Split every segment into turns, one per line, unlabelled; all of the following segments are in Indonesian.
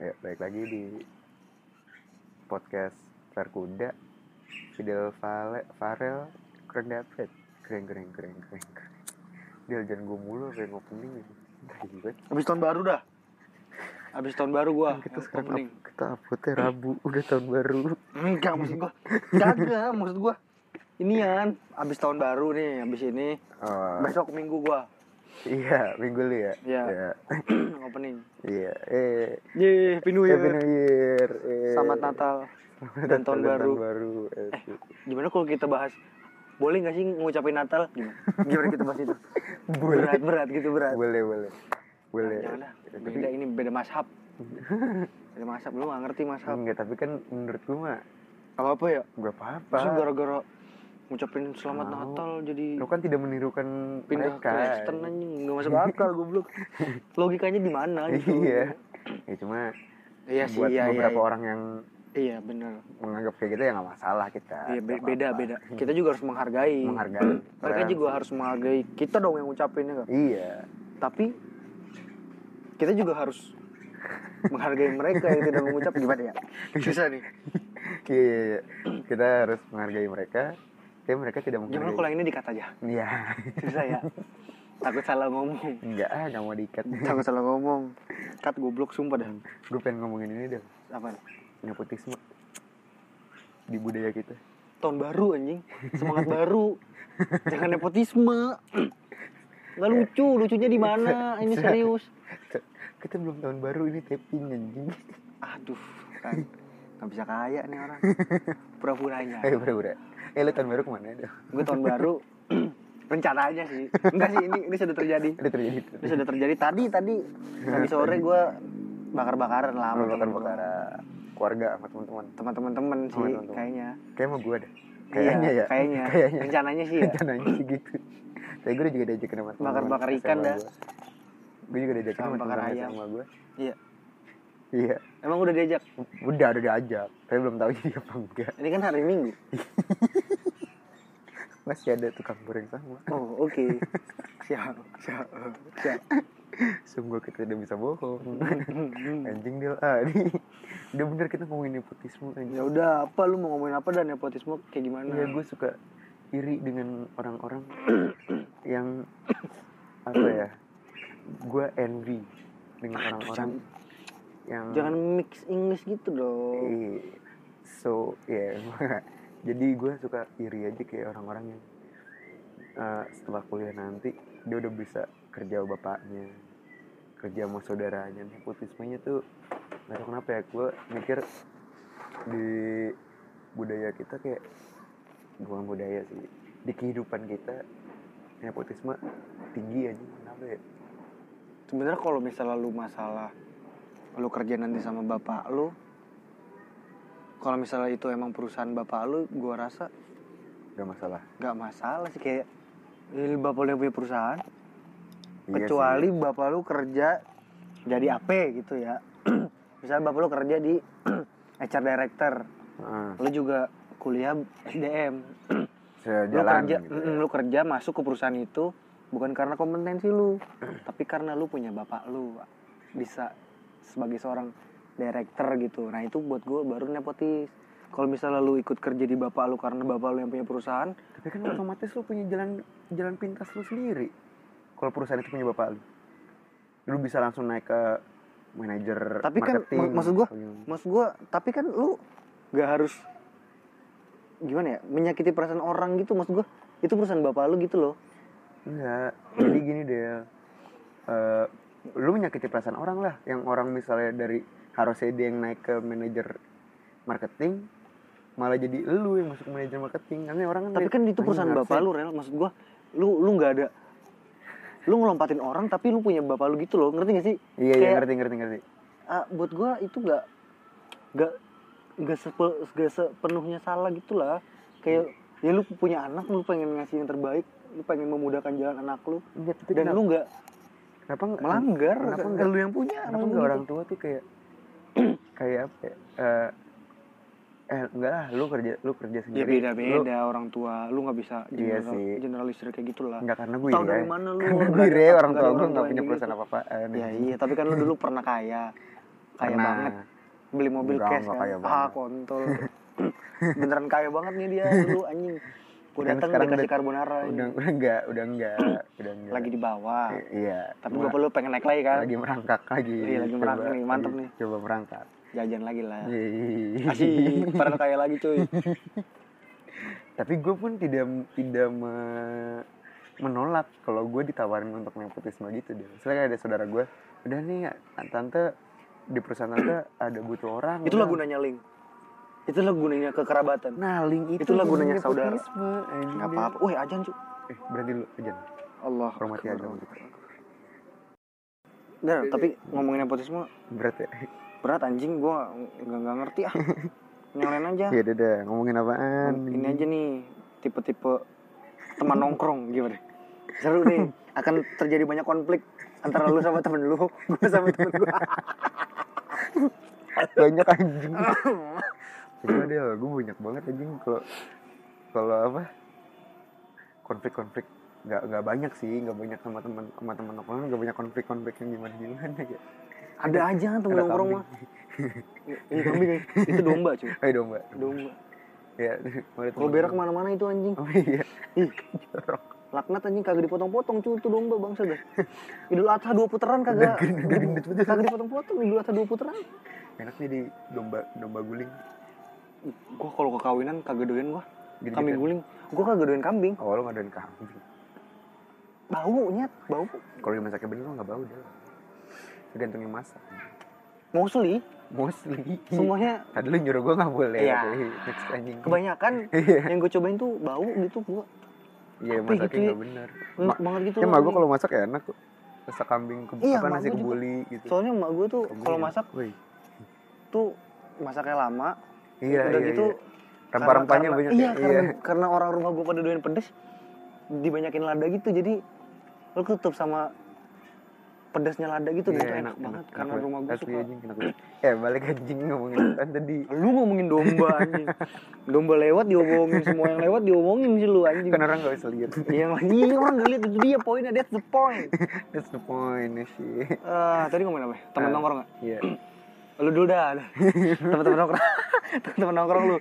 ya balik lagi di podcast Verkuda Fidel Vale Farel keren dapet keren keren keren keren keren Del jangan gue mulu kayak opening gitu Tai banget.
Abis tahun baru dah. Abis tahun baru gua.
kita
yang
sekarang
opening.
up, kita uploadnya Rabu udah tahun baru
Enggak maksud gua. Kagak maksud gua. Inian abis tahun baru nih, abis ini
Oh,
besok minggu gua
iya minggu lu ya
Iya.
iya
opening.
iya eh
Ye, pinu
Happy New Year eh.
Selamat Natal.
Selamat
dan tahun
Natal
baru.
baru eh.
Gimana kalau kita bahas boleh nggak sih ngucapin Natal? Gimana? Gimana kita bahas itu?
boleh
Berat berat gitu berat.
boleh boleh boleh
Jangan lah.
Ya, tapi
Ah, Beda ini beda mashab. Beda mashab lu nggak ngerti mashab.
enggak tapi kan menurut gue mah
Apa apa ya?
gak apa-apa
Masa gara-gara ngucapin selamat
Mau.
Natal jadi
lo kan tidak menirukan
pindah
mereka
ke Western anjing nggak masuk akal goblok logikanya di mana gitu
iya ya cuma
iya sih
buat
iya iya
beberapa
iya.
orang yang
iya bener
menganggap kayak gitu ya nggak masalah kita
iya be-
Nggak
beda
apa-apa.
beda kita juga harus menghargai
menghargai
mereka juga harus menghargai kita dong yang ngucapinnya kan
iya
tapi kita juga harus menghargai mereka yang tidak mengucap gimana ya susah nih
iya iya, iya. kita harus menghargai mereka tapi mereka tidak
gimana
menghargai
kalau yang ini dikata aja
iya
susah ya takut salah ngomong
enggak ah nggak mau diikat
takut salah ngomong kat goblok sumpah dah
gue pengen ngomongin ini deh
apa
nepotisme di budaya kita
tahun baru anjing semangat baru jangan nepotisme nggak lucu lucunya di mana ini serius
kita belum tahun baru ini taping anjing
aduh kan nggak bisa kaya nih orang pura-puranya
eh bro bro eh lo tahun baru kemana deh
gue tahun baru rencananya sih enggak sih ini ini sudah terjadi
ada terjadi itu
ini sudah terjadi tadi tadi tadi sore gue bakar-bakaran lah sama
bakar
temen gua.
bakaran keluarga sama teman-teman
teman-teman temen
Sama
sih
temen-temen.
kayaknya
kayak mau gue deh
Iya,
kayaknya ya
kayaknya
kayaknya
rencananya sih ya
rencananya sih gitu tapi gue juga diajakin sama teman
Bakar-bakar ikan dah.
gue juga diajakin
Sama
sama
bakar
teman
ayam.
sama gue
Iya.
iya
emang udah diajak
udah udah diajak tapi belum tahu jadi apa enggak
ini kan hari minggu
masih ada tukang goreng sama
Oh, oke. siap, siap, siap.
sungguh kita tidak bisa bohong
Hmm.
anjing dia ah ini udah bener kita ngomongin nepotisme anjing
ya udah, apa lu mau ngomongin apa dan nepotisme kayak gimana?
Iya gue suka iri dengan orang-orang yang apa ya? Gue envy dengan
Aduh,
orang-orang yang
Jangan mix English gitu dong.
Iya. so ya jadi gue suka iri aja kayak orang-orang yang eh, setelah kuliah nanti dia udah bisa kerja sama bapaknya kerja sama saudaranya nepotismenya tuh nggak tahu kenapa ya gue mikir di budaya kita kayak bukan budaya sih di kehidupan kita nepotisme tinggi aja kenapa ya
Sebenarnya kalau misalnya lu masalah lu kerja nanti sama bapak lu, kalau misalnya itu emang perusahaan bapak lu, gua rasa
gak masalah
nggak masalah sih kayak eh, bapak lu yang punya perusahaan,
Iya sih.
kecuali bapak lu kerja jadi AP gitu ya. misalnya bapak lu kerja di HR director,
Heeh,
lu juga kuliah SDM lu
sejalan
kerja
gitu
mm, lu kerja masuk ke perusahaan itu bukan karena kompetensi lu tapi karena lu punya bapak lu bisa sebagai seorang director gitu nah itu buat gue baru nepotis kalau misalnya lu ikut kerja di bapak lu karena bapak lu yang punya perusahaan
Tapi kan otomatis lu punya jalan jalan pintas lu sendiri. Kalau perusahaan itu punya bapak lu. Lu bisa langsung naik ke manajer
Tapi kan,
marketing.
mak- maksud gua,
atau gimana.
maksud gue tapi kan lu gak harus gimana ya menyakiti perasaan orang gitu maksud gue itu perusahaan bapak lu gitu loh
enggak. Jadi gini deh. Eh, lu menyakiti perasaan orang lah yang orang misalnya dari harusnya dia yang naik ke manajer marketing malah jadi lu yang masuk ke manajer marketing karena orang kan dari-
tapi kan itu
Anjing,
perusahaan
harusnya-
bapak lu rel maksud gua lu lu nggak ada lu ngelompatin orang tapi lu punya bapak lu gitu loh ngerti gak sih
iya iya
kayak-
ngerti ngerti ngerti
Ah, buat gua itu nggak nggak nggak sepe- nggak sepenuhnya salah gitulah kayak ya lu punya anak lu pengen ngasih yang terbaik lu pengen memudahkan jalan anak lu
Iya, tapi
dan
kenapa-
lu nggak
kenapa enggak-
melanggar
kenapa
kan
enggak-
lu yang punya
kenapa
maksud
nggak
gua
orang
gitu.
tua tuh kayak kayak apa ya, eh, eh enggak lah lu kerja lu kerja
ya
sendiri
beda
lu-
beda orang tua lu nggak bisa
Iya
general,
sih.
generalisir kayak gitu gitulah
enggak karena gue
Tahu
iri
dari
aja.
mana lu?
karena
Nggak
gue
ada-
iri aja orang tua gue
nggak ada orang gitu.
nggak
tua
punya
yang
perusahaan
gitu.
apa apaan
Ya iya, tapi kan lu dulu pernah kaya. kaya
Pernah.
banget beli mobil
Enggak,
cash
enggak
kan
kaya
ah
banget.
kontol beneran kaya banget nih dia dulu anjing gue
Kan
datang
sekarang
dikasih
udah-
carbonara anjing.
udah udah enggak udah enggak udah enggak
lagi di bawah
I- iya
tapi
Cuma
gue perlu pengen naik lagi kan
lagi merangkak lagi
Iya, lagi merangkak nih, mantep
lagi
nih. Ya.
coba merangkak
jajan lagi lah
Yeay.
Asik, padahal kaya lagi cuy
tapi gue pun tidak tidak me- menolak kalau gue ditawarin untuk nepotisme gitu deh misalnya kayak ada saudara gue udah nih tante di perusahaan tante ada butuh orang
itulah
Nah,
gunanya link itulah gunanya kekerabatan
nah link itu
Itulah gunanya saudara.
nepotisme, anjing.
nggak apa-apa weh ajan cuy
eh, berarti lu aja
Allah
Hormati
Akbar.
ajan.
Nah, tapi ngomongin nepotisme
berat ya
Iya. berat anjing gua nggak nggak ngerti ah yang lain aja
ya udah ngomongin apaan
Kan, ini aja nih tipe-tipe teman nongkrong gimana seru nih akan terjadi banyak konflik antara lu sama temen lu gue sama temen gue
banyak anjing Ya Coba deh, gue banyak banget anjing kalau kalau apa konflik-konflik nggak nggak banyak sih nggak banyak sama teman sama teman nongkrong nggak banyak konflik-konflik yang gimana gimana ya
ada aja temen
Ada
nongkrong mah ini kambing ya. itu domba cuy
ayo domba
domba
ya
kalau berak mana-mana itu anjing
oh iya
Ih.
jorok
laknat anjing kagak dipotong-potong cuy itu domba bangsa dah idul adha dua putaran kagak kagak dipotong-potong idul adha dua putaran
enak nih di domba domba guling
gua kalau kekawinan kagak doyan gua
Gitu-gitu.
kambing guling gua kagak doyan kambing
kan. oh lo ngadain kambing
bau nyet bau
kalau dimasaknya bener lo nggak bau dah tergantung yang masak
mostly
mostly
semuanya
tadi lu nyuruh gue nggak boleh
Iya.
Oke, next anjing
kebanyakan
Iya.
yang gue cobain tuh bau gitu gua
Iya
Apa
masaknya
gitu ya?
nggak bener.
enak
Ma-
banget gitu
Ya
loh,
mak gue
anjing.
kalau masak ya enak kok. Masak kambing ke
Iya,
apa
emak
nasi
gua juga.
kebuli gitu.
soalnya emak gue tuh
Kambing ya.
kalau
enak.
masak
Woi.
tuh masaknya lama
iya,
udah
iya,
gitu
iya. rempah-rempahnya
karena-
banyak. ya?
iya, Karena, karena orang rumah gue pada doyan pedes dibanyakin lada gitu jadi lu ketutup sama pedasnya lada gitu
Iya,
gitu enak, banget karena rumah gue
Asli
suka
anjing enak banget. Eh balik anjing ngomongin kan tadi
lu ngomongin domba anjing domba lewat diomongin semua yang lewat diomongin sih lu anjing
kan orang gak bisa lihat.
yang lagi orang gak lihat itu dia poinnya that's the point
That's the point ya sih.
Eh, tadi ngomongin apa ya? temen
Eh.
nongkrong gak?
Iya.
lu dulu dah dah. temen-temen nongkrong temen-temen nongkrong lu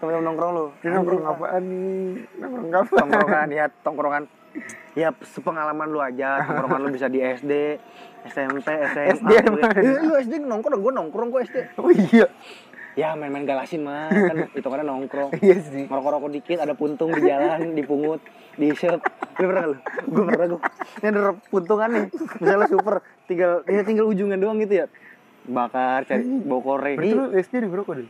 temen-temen nongkrong lu
Ini nongkrong apaan nih? Nongkrong apaan?
tongkrongan ya tongkrongan ya sepengalaman lu aja tongkrongan lu bisa di SD SMP SMA
SD emang ada? Iya.
Eh, lu SD nongkrong gue nongkrong kok SD
Oh iya.
ya main-main galasin mah kan itu karena nongkrong
Iya sih.
merokok-rokok dikit ada puntung di jalan dipungut diisep lu pernah lu gue pernah gue ini ada puntungan nih misalnya super tinggal ya tinggal ujungan doang gitu ya bakar cari bawa korek
Berarti lu
Ih,
SD di Broko deh?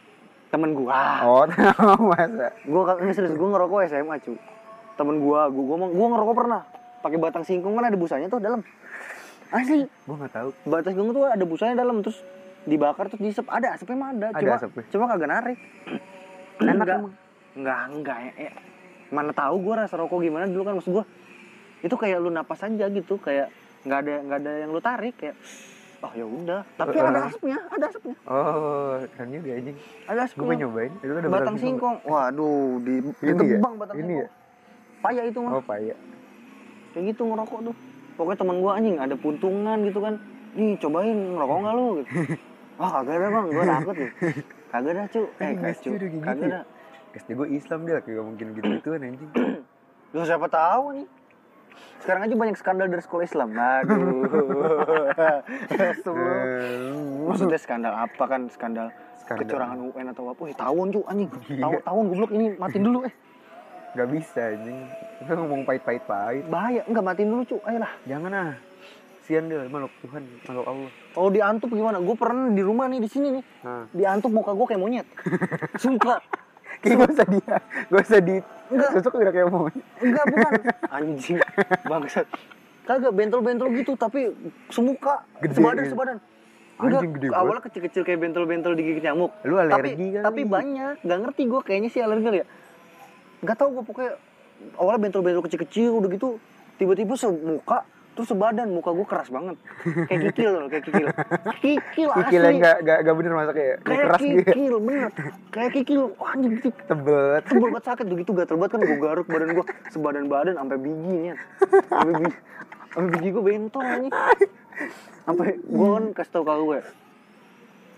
temen gua
Oh, tahu masa.
gue nggak serius gue ngerokok SMA cu temen gue gue gue gue ngerokok pernah pakai batang singkong kan ada busanya tuh dalam asli
Gue gak tahu.
batang singkong tuh ada busanya dalam terus dibakar terus dihisap ada asapnya mah ada
Ada
cuma
asapnya.
cuma kagak narik
Enak
Enggak.
emang.
nggak nggak ya, ya. mana tahu gue rasa rokok gimana dulu kan maksud gue itu kayak lu napas aja gitu kayak nggak ada nggak ada yang lu tarik kayak oh ya udah tapi
Eh, eh.
ada asapnya ada asapnya
Oh, kan juga anjing.
ada
Gue
asapnya
pengen nyobain. Itu ada
batang singkong waduh di ditebang batang
Ini
singkong
ya?
payah itu mah
Oh, paya.
kayak gitu ngerokok tuh pokoknya teman gua anjing ada puntungan gitu kan nih cobain ngerokok nggak lu gitu wah kagak ada bang gua takut nih kagak ada cu eh
Anjing,
kagak
SD
cu
udah kayak
kagak
gitu ya?
ada
SD gue Islam dia kayak gak mungkin gitu gituan anjing.
lu siapa tahu nih sekarang aja banyak skandal dari sekolah Islam aduh maksudnya skandal apa kan skandal,
Skandal.
kecurangan UN atau apa wih tahun cu anjing
Iya.
tahun tahun goblok ini matiin dulu eh
Gak bisa anjing. Lu ngomong pahit-pahit-pahit.
bahaya enggak matiin dulu cu ayolah
Jangan ah. Sian deh, makhluk Tuhan, makhluk Allah.
kalau diantuk gimana gue pernah di rumah nih di sini nih
Nah,
diantuk muka gue kayak monyet sumpah
kayak gak usah dia, gak usah di,
Enggak.
sosok udah kayak mau.
Enggak bukan anjing bangsat. Kagak bentol-bentol gitu tapi semuka
Gede,
sebadan
ya?
sebadan.
Anjing gede banget.
awalnya kecil-kecil kayak bentol-bentol digigit nyamuk.
Lu alergi
tapi,
kali.
Tapi banyak, nggak ngerti gue kayaknya sih alergi kali ya. Nggak tahu gue pokoknya awalnya bentol-bentol kecil-kecil udah gitu tiba-tiba semuka terus sebadan muka gue keras banget kayak kikil loh kayak kikil kikil asli
Kikilnya gak, gak, gak bener masaknya ya. Kayak
kayak
keras gitu ya.
kikil bener kayak kikil wah anjing gitu
Tebet.
sebel banget sakit begitu gatel banget kan gue garuk badan gue sebadan badan sampai bijinya sampai biji sampai biji gue bentol nih sampai gue kan kasih tau kakak gue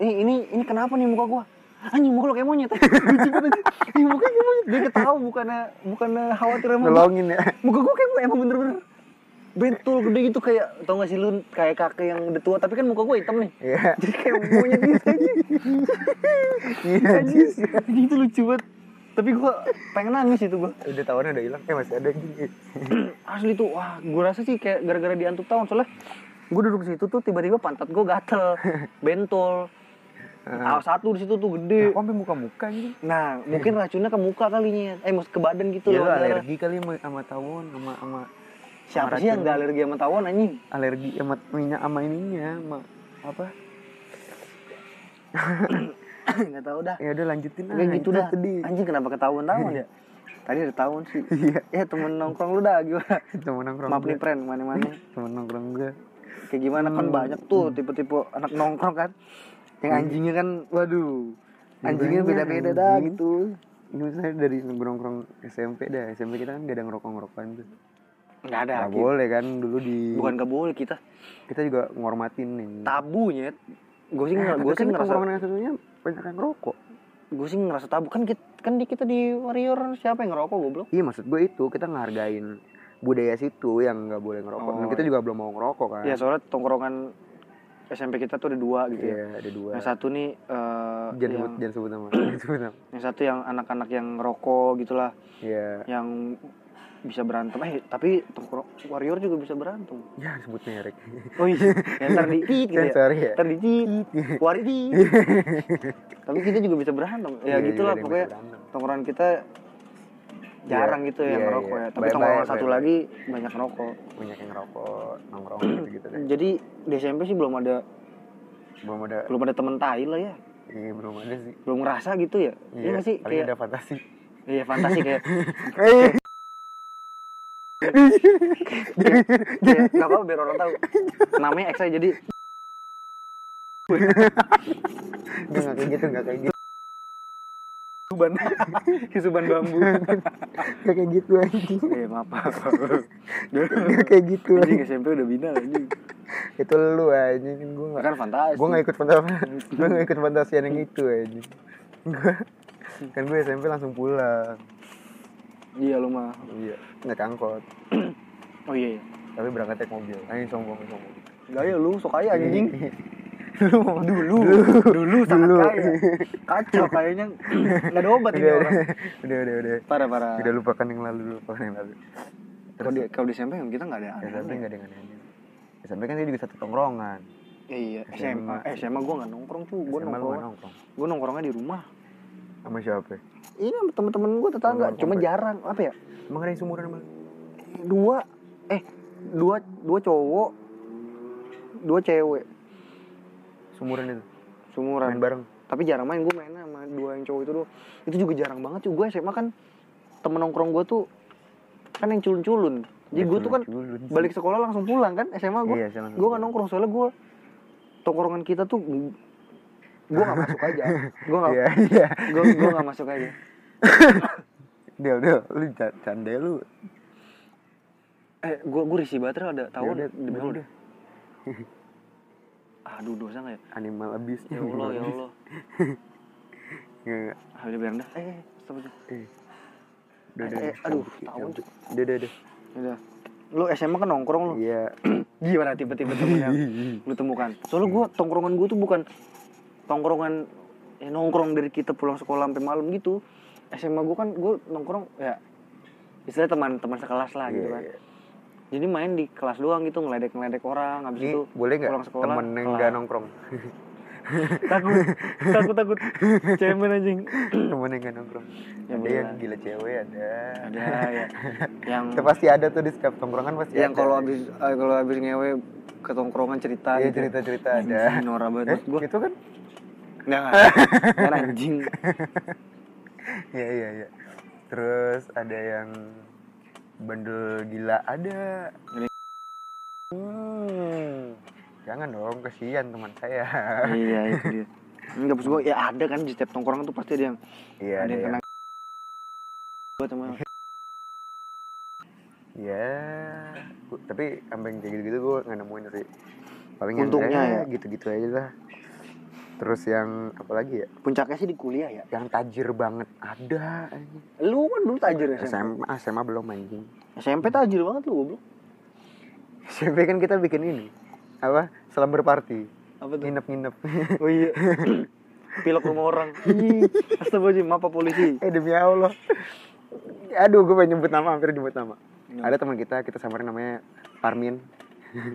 ini ini ini kenapa nih muka gua anjing muka lo kayak monyet lucu banget anjing. Ih, mukanya kayak monyet dia ketawa bukannya bukannya khawatir sama gua.
nolongin ya
muka gua kayak emang bener-bener betul gede gitu kayak tau gak sih lu kayak kakek yang udah tua tapi kan muka gua hitam nih
Iya.
jadi kayak monyet gitu anjing.
iya
Anjing,
jis
anjing itu lucu banget tapi gua pengen nangis itu gua
udah tahunnya udah hilang eh masih ada gini
asli tuh wah gue rasa sih kayak gara-gara diantuk tahun soalnya gue duduk di situ tuh tiba-tiba pantat gue gatel bentol Awas satu di situ tuh
nah,
gede
kok sampai muka-muka gitu
nah mungkin racunnya ke muka kalinya eh maksud ke badan gitu
Iya lu
loh darah.
alergi kali sama, sama tawon sama sama sama
siapa sih yang
racun.
gak alergi sama tawon anjing
alergi sama minyak sama ininya sama apa
nggak tahu dah
ya udah lanjutin aja
kayak gitu
itu
dah
tadi
anjing kenapa ketahuan tawon ya tadi ada tawon sih
iya
eh temen nongkrong lu dah gimana
temen Iya, nongkrong
maaf nih
gue
friend mana-mana
temen nongkrong gue
kayak gimana
Hmm.
kan banyak tuh tipe-tipe anak
Iya.
nongkrong kan yang anjingnya kan waduh
Iya,
anjingnya
Banyak
beda-beda dah
anjing.
gitu
ini misalnya dari nongkrong SMP dah SMP kita kan gak ada ngerokok-ngerokokan tuh
nggak ada
Gak
Ki.
boleh kan dulu di
Nah, gitu. bukan gak boleh kita
kita juga ngormatin nih
tabu nyet gue sih
Nah,
nggak-
tapi
gue sih
kan
ngerasa
nongkrongan yang satunya banyak yang ngerokok
gue sih ngerasa tabu kan kita, kan di kita di warrior siapa yang ngerokok goblok
Iya maksud gue itu kita ngehargain budaya situ yang nggak boleh ngerokok. Dan
Oh,
kita juga belum mau ngerokok kan.
ya soalnya tongkrongan SMP kita tuh ada dua gitu ya
Iya, ada dua.
yang satu nih eh,
jangan sebut
yang,
jangan sebut nama. Jangan sebut nama.
yang satu yang anak-anak yang ngerokok gitulah
Iya.
yang bisa berantem eh tapi tongkrong warrior juga bisa berantem
Jangan Ya, sebut merek.
oh iya yang ntar di gitu ya
Sensor ya.
ntar di waridi tapi kita juga bisa berantem ya,
Iya, iya,
gitulah
ada yang
pokoknya
berantem.
tongkrongan kita jarang gitu ya
iya,
ngerokok
iya.
ya tapi
Bye-bye,
tongkrongan satu
bye-bye. Iya.
lagi banyak ngerokok
Banyak yang ngerokok, nongkrong gitu gitu deh.
jadi di SMP sih belum ada
Belum ada,
belum ada temen tai lah ya
iya belum ada sih.
belum ngerasa gitu ya iya nggak sih
paling
kayak
ada fantasi.
iya fantasi kayak
Eh,
kayak nggak apa biar orang tahu namanya X aja jadi
nggak nggak kayak gitu, nggak kayak gitu,
suban suban bambu
nggak kayak gitu anjing,
eh maaf maaf.
nggak kayak gitu.
anjing SMP udah bina anjing
Itu lu anjing kan gue nggak
kan fantasi
gue nggak ikut fantasi gue nggak ikut fantasian yang itu aja gue kan gue SMP langsung pulang
iya lu mah
iya naik angkot
oh iya iya.
tapi berangkat naik mobil Ah, ini sombong sombong
gaya ya, lu sok kaya
Iya,
anjing
lu mau
dulu dulu sangat
Dulu.
kaya kacau kayaknya nggak ada obat ini
udah
orang
udah udah udah
parah parah
udah lupakan yang lalu lupakan yang lalu
kalau di kalau di SMP kan kita nggak ada anu ya.
SMP
aneh-aneh.
nggak ada yang aneh SMP kan dia juga satu tongkrongan
Eh, iya SMA eh, SMA gue nggak nongkrong cuy gue
SMA lu nggak
nongkrong
nongkrong
gue nongkrongnya di rumah
sama siapa
ini sama temen-temen gue tetangga
Nongkrong
cuma
sampai-
jarang apa ya
emang ada yang sumuran sama lu?
dua eh dua dua cowok dua cewek
sumuran itu main
sumuran
bareng
tapi jarang main gue main sama dua yang cowok itu doang itu juga jarang banget cuy gue SMA kan temen nongkrong gue tuh kan yang culun-culun jadi gue tuh kan
Culun-culun sih.
balik sekolah langsung pulang kan SMA gue
Iya, SMA langsung
gue gak
pulang.
nongkrong soalnya gue tongkrongan kita tuh gue gak masuk aja gue gak
iya iya
gue gue gak masuk aja
Del, del, lu ca- canda lu
eh gue gue risih banget Rel, ada tahu
Yaudah,
ada demi
udah.
Ya udah aduh dosa gak ya
animal abis
ya allah ya allah
Nggak, nggak.
ah, udah biarin dah eh eh, stop aja
Eh. Udah,
Eh,
udah,
eh,
udah.
aduh, Hmm.
Cabut,
tahun.
cabut. Udah, udah, udah.
udah lu SMA kan nongkrong lu
Iya.
gimana tiba-tiba temen yang lu temukan soalnya gue tongkrongan gue tuh bukan tongkrongan ya nongkrong dari kita pulang sekolah sampai malam gitu SMA gue kan gue nongkrong ya istilahnya teman-teman sekelas lah
Iya,
gitu kan
iya.
jadi main di kelas doang gitu ngeledek-ngeledek orang habis
Ini
itu
boleh nggak
pulang sekolah
temen yang
kelar.
nggak nongkrong?
takut takut takut cemen anjing
temen yang nggak nongkrong.
Ya,
ada
boleh
yang
lah.
gila cewek ada.
ada ya yang
Itu pasti ada tuh di setiap tongkrongan pasti
yang
ada.
kalau habis eh, kalau habis ngewe ke tongkrongan cerita
Iya,
gitu.
cerita-cerita ada.
Anjing, norak banget
Eh,
gue
itu kan?
nggak nggak anjing
Iya, iya, iya. Terus ada yang bandel gila ada.
Ada-
Hmm. Jangan dong, kasihan teman saya.
iya itu dia nggak maksud gue ya ada kan di setiap tongkrongan tuh pasti ada yang
Iya,
ada yang
yang-
kena buat sama
Ya, gu- tapi sampai yang kayak gitu-gitu gue nggak nemuin sih. Paling yang
Untungnya
kayak
ya.
gitu-gitu aja lah. terus yang apalagi ya
Puncaknya sih di kuliah ya.
yang tajir banget ada anjing.
Lu kan dulu tajir ya. SMP.
SMA SMA belum anjing
SMP tajir banget lu goblok.
SMP kan kita bikin ini apa selamber party
Apa tuh?
nginep-nginep
Oh iya. Pilok rumah orang. Ih, Astagfirullahaladzim, apa polisi?
eh demi Allah aduh gue pengen nyebut nama hampir nyebut nama
Iya.
ada teman kita kita samarin namanya Parmin
Hmm,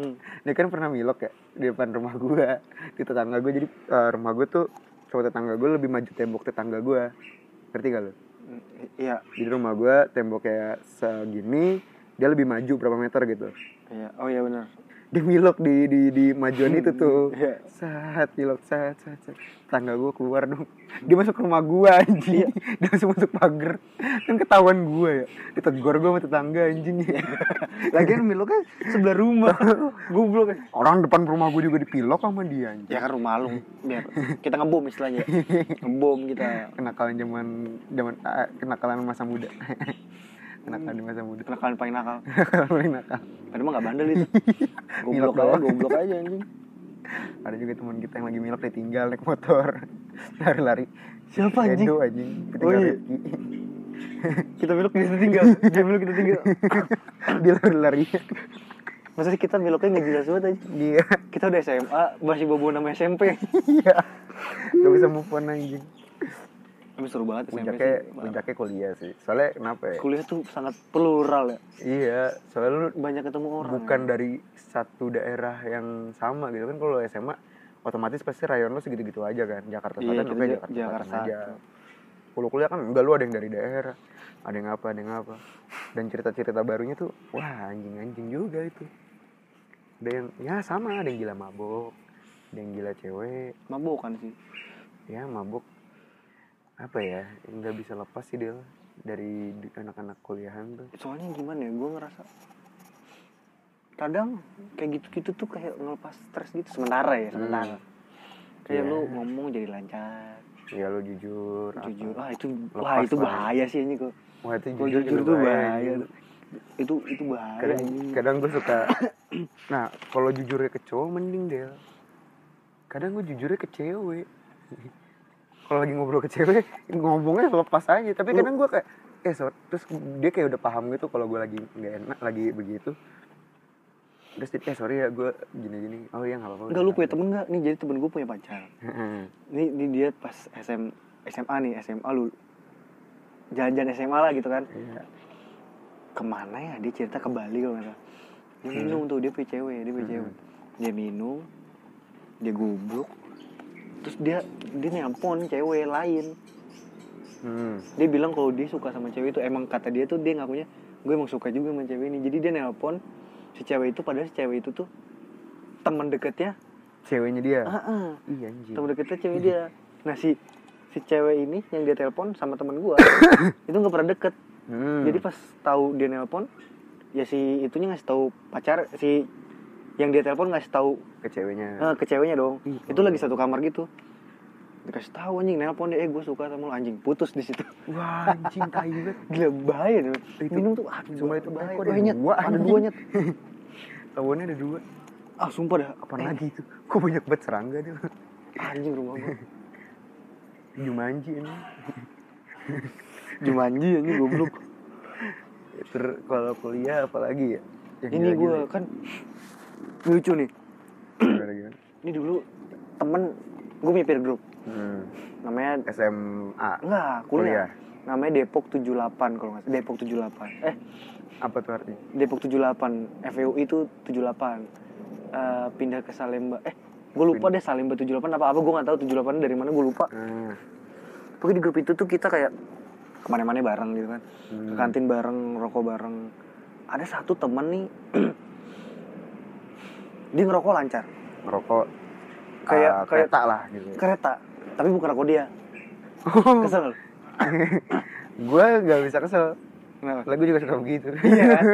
hmm.
dia kan pernah milok ya di depan rumah gue di tetangga gue jadi eh, rumah gue tuh sama tetangga gue lebih maju tembok tetangga gue ngerti gak lo
Iya,
jadi rumah gue tembok kayak segini dia lebih maju berapa meter gitu
iya. Oh iya benar.
dia milok di di di majuan itu tuh
Iya.
saat milok saat saat saat tetangga gue keluar dong dia masuk ke rumah gue anjing
Iya.
dia langsung masuk pagar kan ketahuan gue ya ditegur gue sama tetangga anjing
Lagian Milo kan sebelah rumah. Goblok.
orang depan rumah gue juga dipilok sama dia anjing
Ya kan rumah lu. Biar kita ngebom istilahnya. Ngebom kita.
kenakalan zaman zaman ah, kenakalan masa muda kenakalan di masa muda
Kenakalan paling nakal.
kenakalan paling nakal
Padahal mah gak bandel itu.
Milok
Goblok aja,
doang.
goblok aja anjing.
ada juga teman kita yang lagi milok ditinggal naik motor lari-lari
Siapa anjing?
Edo anjing
Oh,
ketinggal
iya.
Rifki.
Kita Milo kita tinggal. Dia Milo kita tinggal.
dia lari-lari
Maksudnya kita Miloknya gak jelas banget aja.
dia
Kita udah SMA, masih bobo nama SMP.
iya gak
Hmm.
bisa move on anjing
Tapi seru banget SMP
puncaknya
sih.
puncaknya kuliah sih soalnya kenapa ya
Kuliah tuh sangat plural ya.
iya soalnya lu
Banyak ketemu orang.
bukan dari satu daerah yang sama gitu kan kalau SMA otomatis pasti rayon lu segitu-gitu aja kan Jakarta
Iya,
Selatan
kita
oke
Ja-
Jakarta,
Jakarta
Selatan aja
Selatan.
kalau kuliah kan enggak lu ada yang dari daerah ada yang apa ada yang apa dan cerita-cerita barunya tuh wah anjing-anjing juga itu ada yang ya sama ada yang gila mabok ada yang gila cewek
Mabuk kan sih.
ya mabuk apa ya nggak bisa lepas sih dia dari di- anak-anak kuliahan tuh
Soalnya gimana ya, gue ngerasa kadang kayak gitu-gitu tuh kayak ngelepas stres gitu sementara ya sementara kayak
Iya.
lu ngomong jadi lancar
ya lu jujur apa.
jujur ah itu
Lepas
wah itu
lah.
bahaya sih ini kok
wah itu
kalau
jujur,
jujur
juga
tuh
bahaya, gitu.
bahaya
anjing.
itu itu bahaya
kadang
anjing.
kadang gue suka nah kalau jujurnya ke cowok mending Del kadang gue jujurnya ke cewek kalau lagi ngobrol ke cewek ngomongnya lepas aja tapi kadang gue kayak eh sorry terus dia kayak udah paham gitu kalau gue lagi nggak enak lagi begitu terus dia, eh sorry ya gue gini gini oh iya nggak apa-apa
enggak lu punya temen enggak nih jadi temen gue punya pacar
Heeh.
ini, ini dia pas SM SMA nih SMA lu jalan-jalan SMA lah gitu kan
Iya.
kemana ya dia cerita ke Bali kalau nggak salah dia minum tuh dia punya cewek dia punya
Hmm.
cewek dia minum dia gubruk terus dia dia nelpon cewek lain
Hmm.
dia bilang kalau dia suka sama cewek itu emang kata dia tuh dia ngakunya gue emang suka juga sama cewek ini jadi dia nelpon si cewek itu padahal si cewek itu tuh teman deketnya
ceweknya dia
ah, ah,
iya anjing
teman deketnya cewek dia
Hmm.
nah si si cewek ini yang dia telepon sama teman gua itu nggak pernah deket
Hmm.
jadi pas tahu dia nelpon ya si itunya ngasih tahu pacar si yang dia telepon ngasih tahu
ke ceweknya
eh, ke ceweknya dong
Hmm. Ih,
itu lagi satu kamar gitu dikasih tahu anjing nelpon dia eh gue suka sama lu anjing putus di situ
wah anjing tai banget
gila bahaya tuh
Itu-
minum tuh aduh
cuma
bahaya,
itu
bahaya
kok
Wah,
ada
nyet,
dua,
ada
anjing.
dua nyet
lawannya ada dua
ah sumpah dah apa
apa lagi itu kok banyak banget serangga dia
anjing rumah gue
Jumanji ini
jumanji anjing goblok
ter kalau kuliah apalagi ya Yang
ini gue
gila-gila. ya,
kan lucu nih
Gimana, gimana?
ini dulu temen gue punya peer group
Hmm,
namanya
SMA
enggak kuliah,
Kuliah.
namanya Depok 78 kalau nggak salah Depok 78 eh
apa tuh artinya
Depok 78 FEU itu 78 Eh, pindah ke Salemba eh gue lupa deh Salemba 78 apa apa gue nggak tahu 78 dari mana gue lupa
Hmm,
pokoknya di grup itu tuh kita kayak kemana-mana bareng gitu kan ke
Hmm.
kantin bareng rokok bareng ada satu temen nih dia ngerokok lancar
ngerokok ah,
Kayak- kayak-
kereta lah gitu
kereta tapi bukan rokok dia kesel lu?
gue gak bisa kesel
kenapa
lagu juga suka begitu
iya kan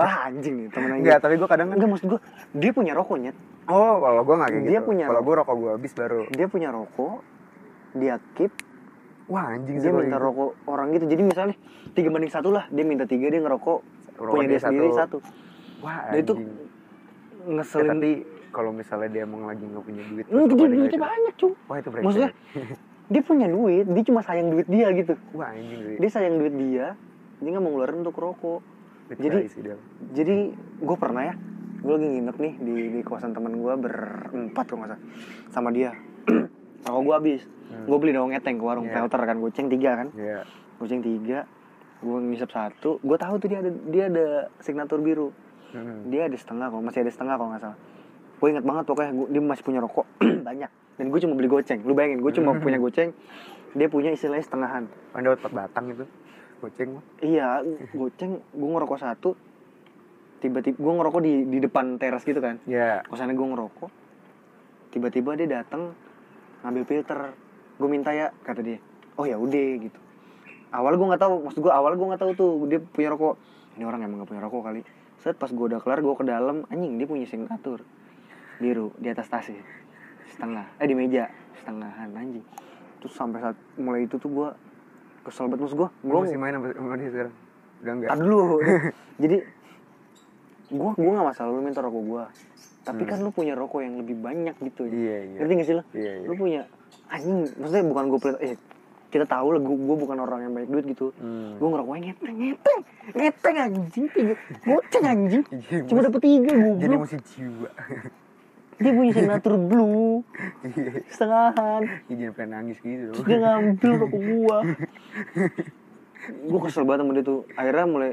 ah anjing nih temen
Enggak,
aja
tapi gue kadang kan-
enggak maksud gue dia punya rokoknya
Oh, kalau gue gak kayak
Dia
gitu.
punya
kalau gue rokok gue habis baru.
dia punya rokok dia keep
Wah, anjing
dia
sih kalau
minta
gitu.
rokok orang gitu jadi misalnya tiga banding satu lah dia minta tiga dia ngerokok
Rokok
punya dia,
dia
sendiri
satu.
satu
Wah,
Dia
anjing.
itu
Ya,
ngeselin
tapi kalau misalnya dia emang lagi nggak punya duit terus
Duit
kepada
duitnya
nggak-
banyak cuy.
wah itu breakdown
Maksudnya dia punya duit, dia cuma sayang duit dia gitu.
wah anjing sih
Dia sayang duit dia, dia nggak mau ngeluarin untuk rokok.
Itu
jadi-
sih dia.
Jadi gue pernah ya, gue lagi nginep nih di, di kawasan temen gue berempat kalau nggak salah sama dia. Rokok gue habis,
Hmm.
gue beli dong ngeteng ke warung
Iya.
pelter kan, goceng tiga kan,
Iya.
goceng tiga, gue ngisep satu, gue tahu tuh dia ada dia ada signatur biru,
Hmm.
dia ada setengah kalau masih ada setengah kalau nggak salah gue inget banget pokoknya gua- dia masih punya rokok banyak dan gue cuma beli goceng lu bayangin gue cuma punya goceng dia punya istilahnya setengahan
Anda dapat empat Kan batang itu. Kucing mah.
iya goceng gue ngerokok satu tiba-tiba gue ngerokok di di depan teras gitu kan
Iya.
kosannya gue ngerokok tiba-tiba dia datang ngambil filter gue minta ya kata dia oh ya udah gitu awal gue nggak tahu maksud gue awal gue nggak tahu tuh dia punya rokok ini orang emang nggak punya rokok kali set pas gue udah kelar gue ke dalam anjing dia punya signatur biru di atas tasnya setengah eh di meja setengahan anjing terus sampai saat mulai itu tuh gue kesel banget maksud gue
Lu
gue
masih main sama, sama dia sekarang? Udah enggak?
Tar dulu. Jadi gua gua nggak masalah lu minta rokok gua. Tapi kan lu punya rokok yang lebih banyak gitu.
Hmm. Iya, iya.
Ngerti gak sih lu?
Iya, iya.
Lu punya anjing, maksudnya bukan gua pelit. Eh, kita tahu lah gua, gua bukan orang yang banyak duit gitu.
Hmm.
Gua ngerokoknya ngeteng, ngeteng, ngeteng anjing, tiga, goceng anjing.
Iya,
Cuma
Mas.
dapet tiga
Jadi
goblok.
mesti jiwa.
Dia punya signature blue,
Iya.
setengahan.
Ih, Jangan pengen nangis gitu
Terus
dong.
dia ngambil rokok gua gua kesel banget sama dia tuh akhirnya mulai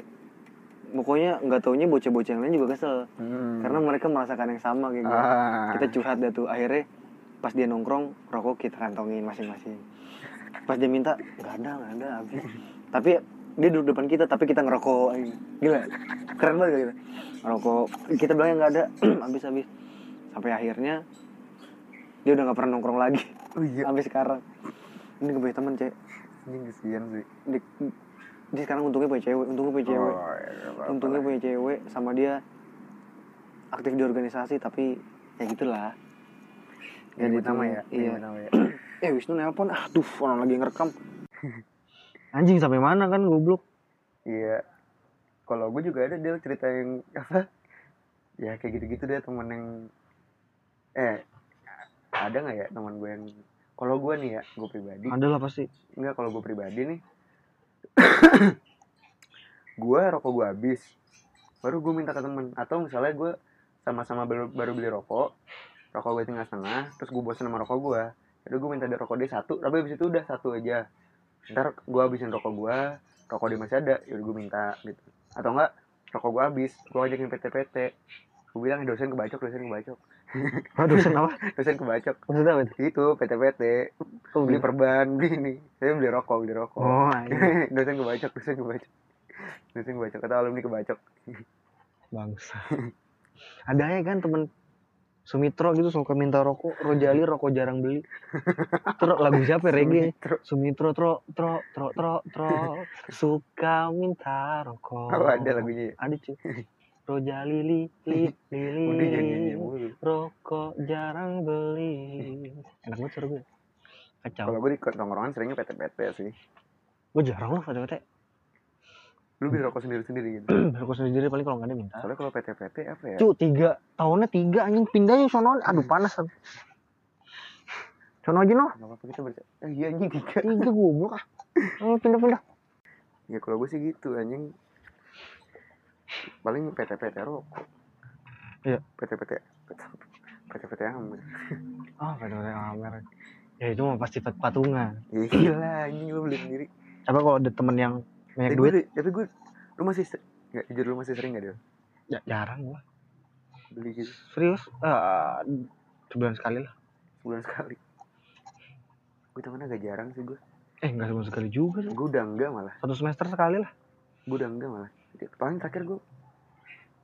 pokoknya nggak taunya bocah-bocah yang lain juga kesel
Hmm.
karena mereka merasakan yang sama kayak gua
ah.
kita curhat dah tuh akhirnya pas dia nongkrong rokok kita kantongin masing-masing pas dia minta nggak ada nggak ada habis tapi dia duduk depan kita tapi kita ngerokok gila keren banget gak kita ngerokok kita bilang nggak ada habis habis sampai akhirnya dia udah nggak pernah nongkrong lagi
Oh iya,
sampai sekarang ini gue punya temen cek
anjing kesian sih.
dia, dia sekarang untungnya punya cewek untungnya punya cewek
Oh, iya, nggak apa-apa.
untungnya punya cewek sama dia aktif di organisasi tapi ya gitulah
Gak nyebut nama ya? Gak
iya
nyebut nama ya?
eh Wisnu nelpon aduh orang lagi ngerekam anjing sampai mana kan goblok
Iya. Kalau gue juga ada dia cerita yang apa? Ya kayak gitu-gitu deh temen yang eh ada nggak ya teman gue yang kalau gue nih ya gue pribadi
ada lah pasti
Enggak, kalau gue pribadi nih gue rokok gue habis baru gue minta ke temen atau misalnya gue sama-sama baru, baru beli rokok rokok gue tinggal setengah terus gue bosen sama rokok gue jadi gue minta dia rokok dia satu tapi habis itu udah satu aja ntar gue habisin rokok gue rokok dia masih ada yaudah gue minta gitu atau enggak rokok gue habis gue ajakin PT-PT gue bilang "Eh, dosen kebacok dosen kebacok
Aduh, dosen apa
dosen kebacok
maksudnya apa itu
itu PT-PT
oh,
beli perban beli ini saya beli rokok beli rokok
oh anjing
dosen kebacok dosen kebacok dosen kebacok atau alumni kebacok
bangsa ada ya kan temen Sumitro gitu suka minta rokok Rojali rokok jarang beli Tro lagu siapa ya, reggae
Sumitro.
Sumitro tro tro tro tro tro suka minta rokok
apa ada lagunya ya
Oh, ada cuy Rojali li li li
udah nyanyi
li
mulu
rokok jarang beli enak banget suara gue kacau
kalau gue di tongkrongan seringnya PT-PT sih
gue jarang lah kata-kata
lu beli rokok sendiri sendiri gitu
rokok sendiri paling kalau nggak ada minta
soalnya kalau PT-PT apa ya
Cu, tiga. Tahunnya tiga, anjing. Pindah ya, sono. Aduh, panas. Sono aja, noh.
nggak apa-apa kita baca eh, iya anjing tiga
Tiga, goblok. ah. Ayo, Pindah-pindah.
ya kalau gue sih gitu anjing paling PT-PT rokok
Iya.
PT-PT PT-PT aman
Ah, pedofil Amer. Ya, itu mah pasti pat- patungan.
ya gila anjing lu beli sendiri
Coba kalau ada temen yang banyak
tapi
duit,
gue, tapi gue lu masih se- nggak jujur lu masih sering gak dia
ja- jarang gua.
beli gitu
Serius? Eh, sebulan sekali lah.
sebulan sekali gue temennya agak jarang sih gue
Eh, enggak sebulan sekali juga. sih.
gue udah enggak malah
Satu semester sekali lah.
gue udah enggak malah paling terakhir gue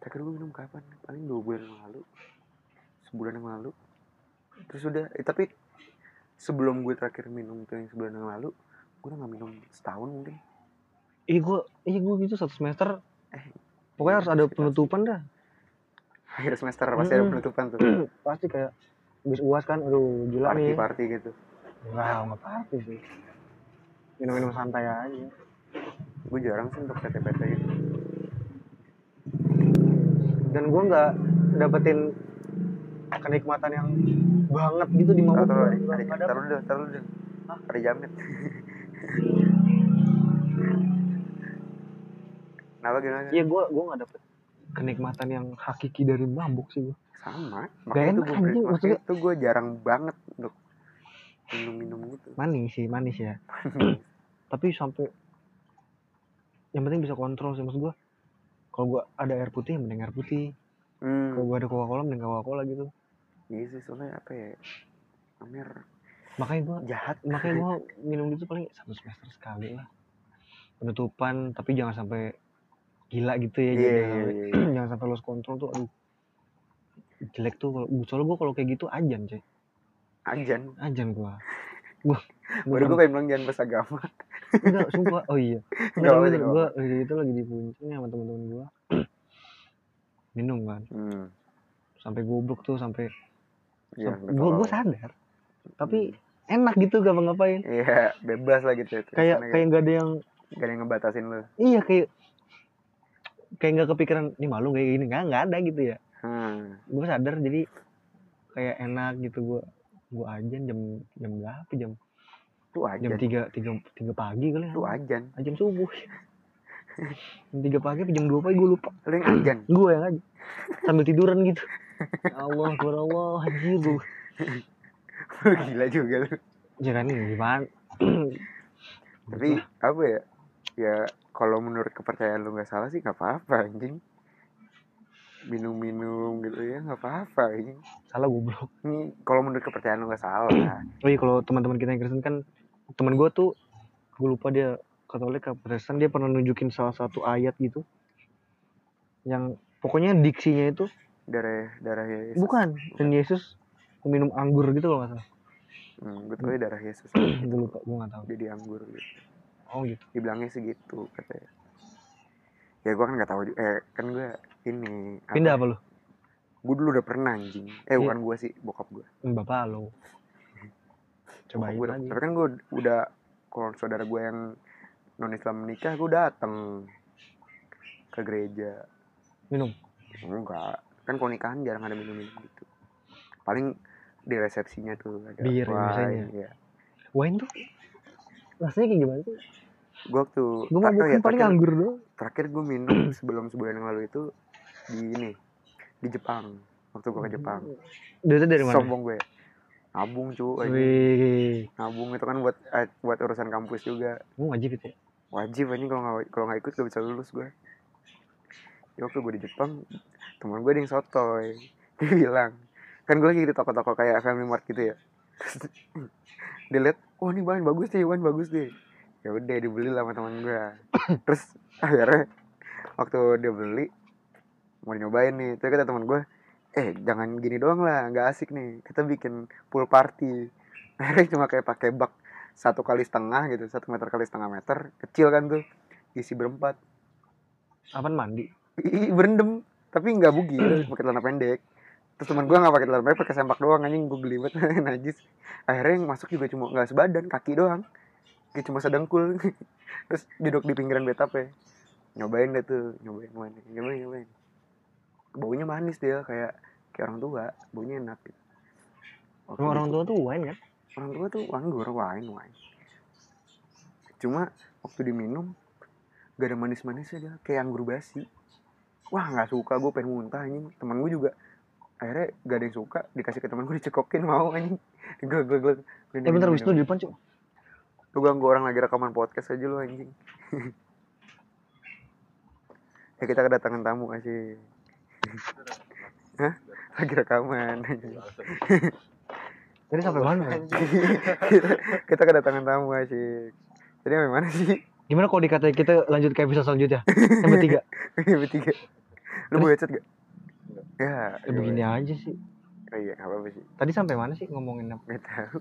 terakhir gue minum kapan paling dua bulan yang lalu sebulan yang lalu terus udah eh, tapi sebelum gue terakhir minum tuh yang sebulan yang lalu gue udah gak minum setahun mungkin
Ih, gua, ih, gua gitu satu semester.
Eh,
Pokoknya harus ada
sekitar
penutupan dah.
akhir semester pasti ada
Mm-mm.
penutupan tuh
Pasti kayak habis UAS kan, aduh gila
party
nih.
party gitu
Enggak, enggak party sih. Minum-minum santai aja.
gue jarang sih untuk PT PT gitu
Dan gue nggak dapetin kenikmatan yang banget gitu di mabuk
Taruh, taruh,
gitu kan.
taruh,
Padahal-
taruh dulu, taruh dulu.
Hah?
Ada jamet. Kenapa gimana?
Iya gue gue nggak dapet kenikmatan yang hakiki dari mabuk sih gue.
Sama.
Gak
Makanya tuh
enak,
gue
anjing, maksudnya-
itu gue jarang banget untuk minum-minum gitu.
Manis sih manis ya. Tapi sampai yang penting bisa kontrol sih maksud gue. Kalau gue ada air putih, mending air putih.
hmm.
Kalau gue ada Coca Cola, mending Coca Cola gitu.
Iya sih soalnya apa ya? Amir
Makanya gue
jahat.
makanya gue minum itu paling satu semester sekali lah penutupan tapi jangan sampai gila gitu ya
Iya
jadi
iya
jangan-
iya.
jangan sampai lost control tuh aduh jelek tuh kalau soalnya gue kalau kayak gitu ajan cuy
Anjan.
ajan gue gue
Baru gue pengen bilang jangan bahasa agama.
enggak sumpah oh iya
Nggak apa-apa, nggak
gue kayak gitu lagi di puncaknya sama teman-teman gue minum kan
Hmm.
sampai goblok tuh sampai
Iya. Hmm. nggak
gue gue
apa-apa.
sadar tapi enak gitu gak ngapain
Iya, bebas lah gitu. Terus
kayak
sana
kayak gak ada yang
gak ada yang ngebatasin lu.
iya kayak kayak nggak kepikiran ini malu kayak gini nggak nggak ada gitu ya
Hmm.
gue sadar jadi kayak enak gitu gue gue ajan jam jam berapa jam
Lu
jam
ajan.
tiga tiga tiga pagi kali
Lu
ya
ajan.
Ah, jam subuh jam tiga pagi apa jam dua pagi gue lupa
Lu yang ajan.
gue yang aja sambil tiduran gitu ya Allah kepada Allah anjir gue
Lu gila juga lu.
ya kan gimana
Tapi apa ya? Ya kalau menurut kepercayaan lu nggak salah sih nggak apa-apa anjing. Minum-minum gitu ya nggak apa-apa anjing.
salah goblok
Ini kalau menurut kepercayaan lu nggak salah.
oh iya kalau teman-teman kita yang Kristen kan teman gue tuh gue lupa dia Katolik apa Kristen dia pernah nunjukin salah satu ayat gitu yang pokoknya diksinya itu
Darah darah Yesus.
bukan dan Yesus minum anggur gitu kalau nggak salah
Hmm, gue tau ya darah Yesus.
gue lupa gue nggak tahu
Jadi anggur gitu.
oh gitu
Dibilangnya segitu katanya. Ya gue kan nggak tahu ju- eh kan gue ini apa
pindah apa lu
gue dulu udah pernah anjing eh
Iya.
bukan gue sih bokap gue
Hmm, bapak lo cobain
gue
lagi
tapi kan gue udah kalau saudara gue yang non Islam menikah gue dateng ke gereja
minum
enggak kan kalau nikahan jarang ada minum minum gitu paling di resepsinya tuh ada iya.
Bir ya biasanya. wine tuh rasanya kayak gimana sih
gue waktu ta-
gue mau
oh
bukan
ya,
paling
terakhir,
anggur doang
terakhir gue minum sebelum sebulan yang lalu itu di ini di Jepang waktu gue ke Jepang
dari Hmm. dari mana
sombong gue nabung cu anjing.
Wih,
nabung itu kan buat eh, buat urusan kampus juga
gue wajib itu ya?
wajib anjing kalau nggak kalau nggak ikut gak bisa lulus gue ya waktu gue di Jepang teman gue ada yang sotoy dia bilang kan gue lagi di toko-toko kayak Family Mart gitu ya Terus dia lihat wah ini bahan bagus deh bahan bagus deh ya udah dibeli lah sama teman gue terus akhirnya waktu dia beli mau nyobain nih terus kata teman gue eh jangan gini doang lah nggak asik nih kita bikin pool party akhirnya cuma kayak pakai bak satu kali setengah gitu satu meter kali setengah meter kecil kan tuh isi berempat
apaan mandi
Ih, berendam tapi nggak bugi pakai celana pendek terus teman gue nggak pakai celana pendek pakai sempak doang anjing gue gelibet najis akhirnya yang masuk juga cuma nggak sebadan kaki doang kayak cuma sedengkul terus duduk di pinggiran betape nyobain deh tuh nyobain mana nyobain nyobain baunya manis dia kayak kayak orang tua baunya enak gitu. Waktu
Emang orang
itu-
tua tuh wine kan
orang tua tuh anggur wine wine cuma waktu diminum gak ada manis-manisnya dia kayak anggur basi wah nggak suka gue pengen muntah anjing temen gue juga akhirnya gak ada yang suka dikasih ke temen gue dicekokin mau anjing gue gue gue
eh bentar wis tuh di depan cuk
lu ganggu orang lagi rekaman podcast aja lu anjing ya kita kedatangan tamu aja Hah? lagi rekaman anjing
tadi sampai mana ya?
kita, kita kedatangan tamu asik jadi sampai mana sih
Gimana kalau dikatain kita lanjut ke episode selanjutnya? Yang Ya, ketiga.
Ini bertiga lu mau headset gak ya
Ya, begini aja sih.
oh, iya nggak apa-apa sih
Tadi sampai mana sih ngomongin apa?
nggak tahu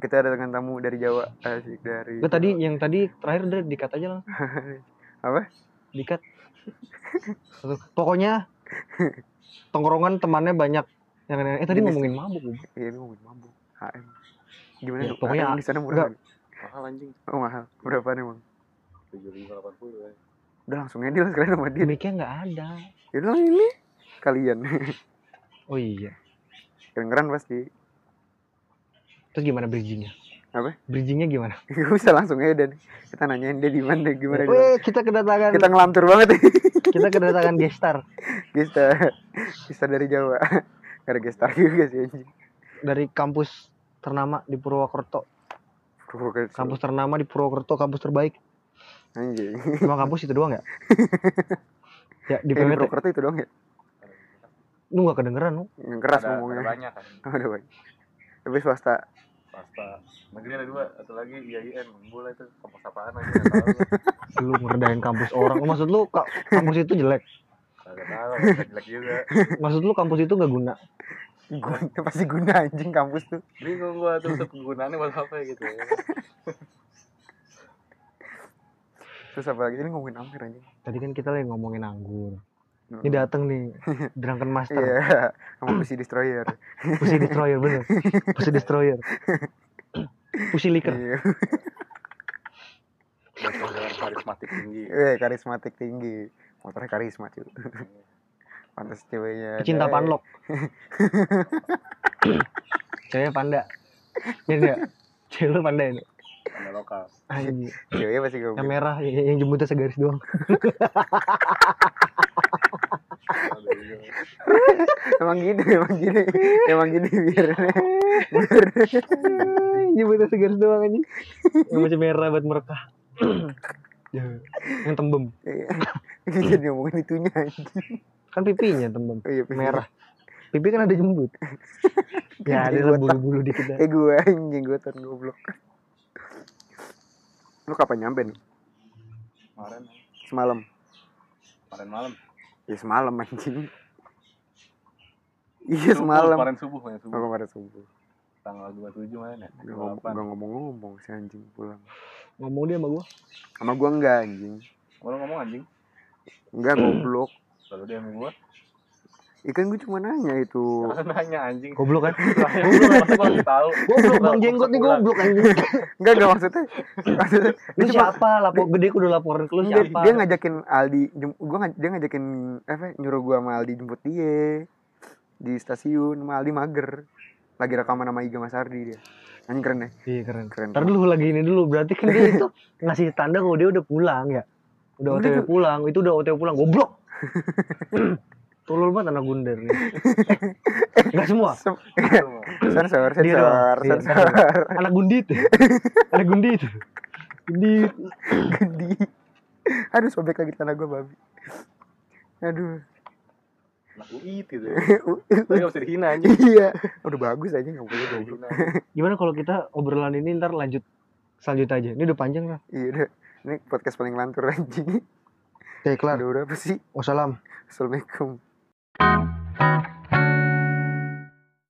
kita kedatangan tamu dari Jawa asik dari
Gue tadi yang tadi terakhir udah dikat aja langsung.
apa
Dikat. Satu- Pokoknya tongkrongan temannya banyak yang aneh-aneh. Eh tadi
Jenis.
ngomongin mabuk. Bung.
iya lu ngomongin mabuk HM gimana
Ya,
lu?
pokoknya
HM di sana murah nggak?
mahal anjing
oh mahal berapaan emang
tujuh ribu delapan puluh ya
Ya udah langsung aja lah sekalian sama dia
Mic-nya nggak ada.
yaudah lah ini kalian
Oh iya.
Kedengeran pasti.
Terus gimana bridgingnya?
Apa?
Bridgingnya gimana?
Gak usah langsung aja dan kita nanyain dia di mana gimana gimana.
Weh, kita kedatangan
Kita
kita,
ngelantur banget ya.
kedatangan gestar
Gesta. Gesta dari Jawa. Gak ada gestar juga sih anjing.
dari kampus ternama di Purwokerto.
Purwokerto.
Kampus ternama di Purwokerto, kampus terbaik.
Anjing.
Cuma kampus itu doang ya? ya di
Kayak di
PMT.
Purwokerto itu doang ya.
Lu gak kedengeran lu.
Yang keras
ada, ada
ngomongnya.
banyak kan
Ada banyak. Tapi swasta.
pasta negeri ada dua satu lagi IAIN boleh itu kampus apaan aja nggak tahu
Lu ngerendahin kampus orang. Oh, Maksud lu ka- kampus itu jelek.
nggak tahu nggak jelek juga
Maksud lu kampus itu gak guna.
Guna, pasti guna anjing kampus tuh.
bingung gua tuh untuk penggunaannya buat apa gitu ya
Terus apa lagi ini ngomongin Amir anjing.
Tadi kan kita lagi ngomongin anggur. Ini dateng nih, Drunken Master.
Iya, sama Pussy Destroyer.
Pussy Destroyer bener Pussy Destroyer Pussy Licker
Iya,
dengan karismatik tinggi
Weh, Eh, karismatik tinggi. Motornya karisma cuy. Pantas ceweknya.
Pecinta
ada.
panlok Cewek panda Iya enggak Cewek lu panda ini
ada lokal
Anjing.
Ceweknya pasti gue.
Yang merah Yang, yang jembutnya segaris doang
Ada juga.
emang gini, emang gini, emang gini biar. biar.
Yang Jembutnya segaris doang anjing Yang masih merah buat merekah Ya. Yang tembem
Iya. Jadi ngomongin itunya. anjing.
Kan pipinya tembem
Oh iya, pipi.
Merah Pipi kan ada jembut Ya ada lah bulu-bulu dikit dah.
Eh gue anjing jenggotan goblok. Lu kapan nyampe nih?
kemarin
Semalam.
kemarin malam
Ya semalam anjing. Iya
Subuh,
semalam.
kemarin subuh
Oh,
kemarin
Iya,
subuh
kemarin subuh.
tanggal dua tujuh mana ya
Gak
dua
ngom- gak ngomong-ngomong si anjing pulang.
Ngomong dia sama gua
Sama gua enggak anjing.
ngomong anjing
Enggak
Hmm.
goblok.
lalu dia sama gua
Ikan gue cuma nanya itu.
Jangan nanya anjing
Goblok kan
Lah, ya udah, masa gua nggak tahu
Goblok bang jenggot nih goblok anjing
Enggak enggak maksudnya. maksudnya
lu
dia cuma
siapa lapor gede aku udah laporin ke lu
dia,
siapa
dia ngajakin Aldi jem- gua ngaj- dia ngajakin apa nyuruh gua sama Aldi jemput dia di stasiun sama Aldi mager. Lagi rekaman sama Iga Mas Ardi dia. Anjing keren ya.
iya keren
Keren.
ntar dulu lagi ini dulu berarti kan dia itu ngasih tanda kalau dia udah pulang ya udah
Udah
otw
tuh.
pulang itu udah otw pulang goblok tolol banget anak gunder nih Eh, nggak semua
Sem-
gitu.
Sensor,
Dia
sensor,
doang. Dia
sensor.
doang. anak gundit anak gundit gundit
Gendi. Aduh sobek lagi tanah gua babi. Aduh.
Anak UI gitu ya. Tapi nggak bisa dihina anjing
Iya. Udah bagus aja nggak boleh
Nggak bisa
goblok.
dihina.
gimana kalau kita obrolan ini ntar lanjut selanjutnya aja ini udah panjang lah
Iya udah. Ini podcast paling lantur anjing.
kayak kelar
Udah udah apa sih?
wassalam
Assalamualaikum.